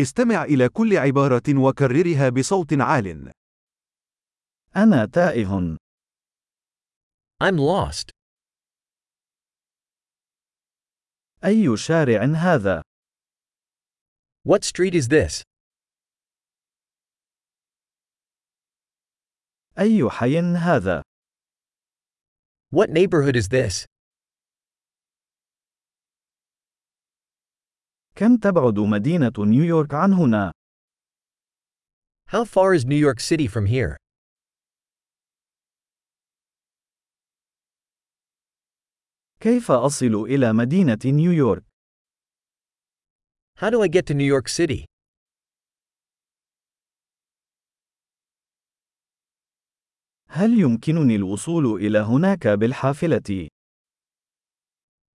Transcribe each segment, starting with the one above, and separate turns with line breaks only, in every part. استمع إلى كل عبارة وكررها بصوت عال.
أنا تائه.
I'm lost.
أي شارع هذا؟
What street is this?
أي حي هذا؟
What neighborhood is this?
كم تبعد مدينة نيويورك عن هنا؟
How far is New York City from here?
كيف أصل إلى مدينة نيويورك؟
How do I get to New York City?
هل يمكنني الوصول إلى هناك بالحافلة؟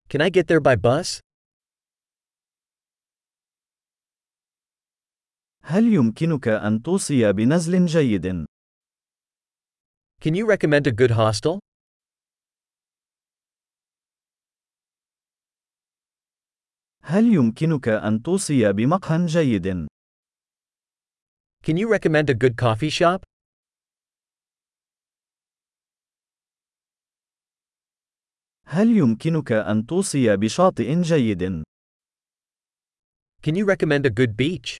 Can I get there by bus?
هل يمكنك أن توصي بنزل جيد؟
Can you recommend a good hostel?
هل يمكنك أن توصي بمقهى جيد؟
Can you recommend a good coffee shop?
هل يمكنك أن توصي بشاطئ جيد؟
Can you recommend a good beach?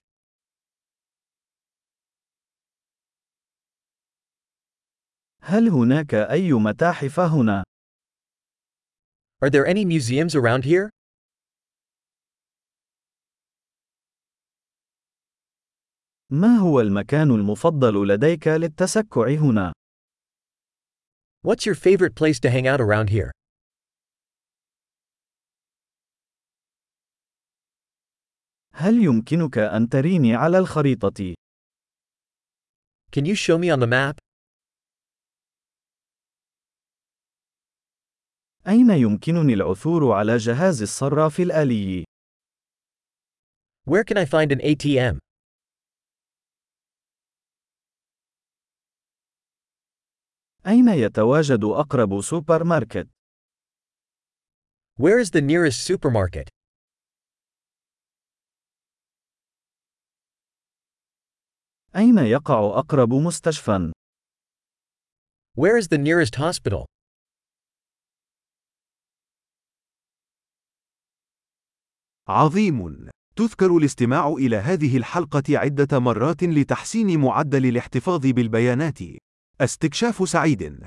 هل هناك أي متاحف هنا؟
Are there any museums around here?
ما هو المكان المفضل لديك للتسكع هنا؟
What's your favorite place to hang out around here?
هل يمكنك أن تريني على الخريطة؟
Can you show me on the map?
أين يمكنني العثور على جهاز الصراف الآلي؟
Where can I find an ATM?
أين يتواجد أقرب سوبر ماركت؟
Where is the nearest supermarket?
أين يقع أقرب مستشفى؟
Where is the nearest hospital?
عظيم! تذكر الاستماع إلى هذه الحلقة عدة مرات لتحسين معدل الاحتفاظ بالبيانات. استكشاف سعيد!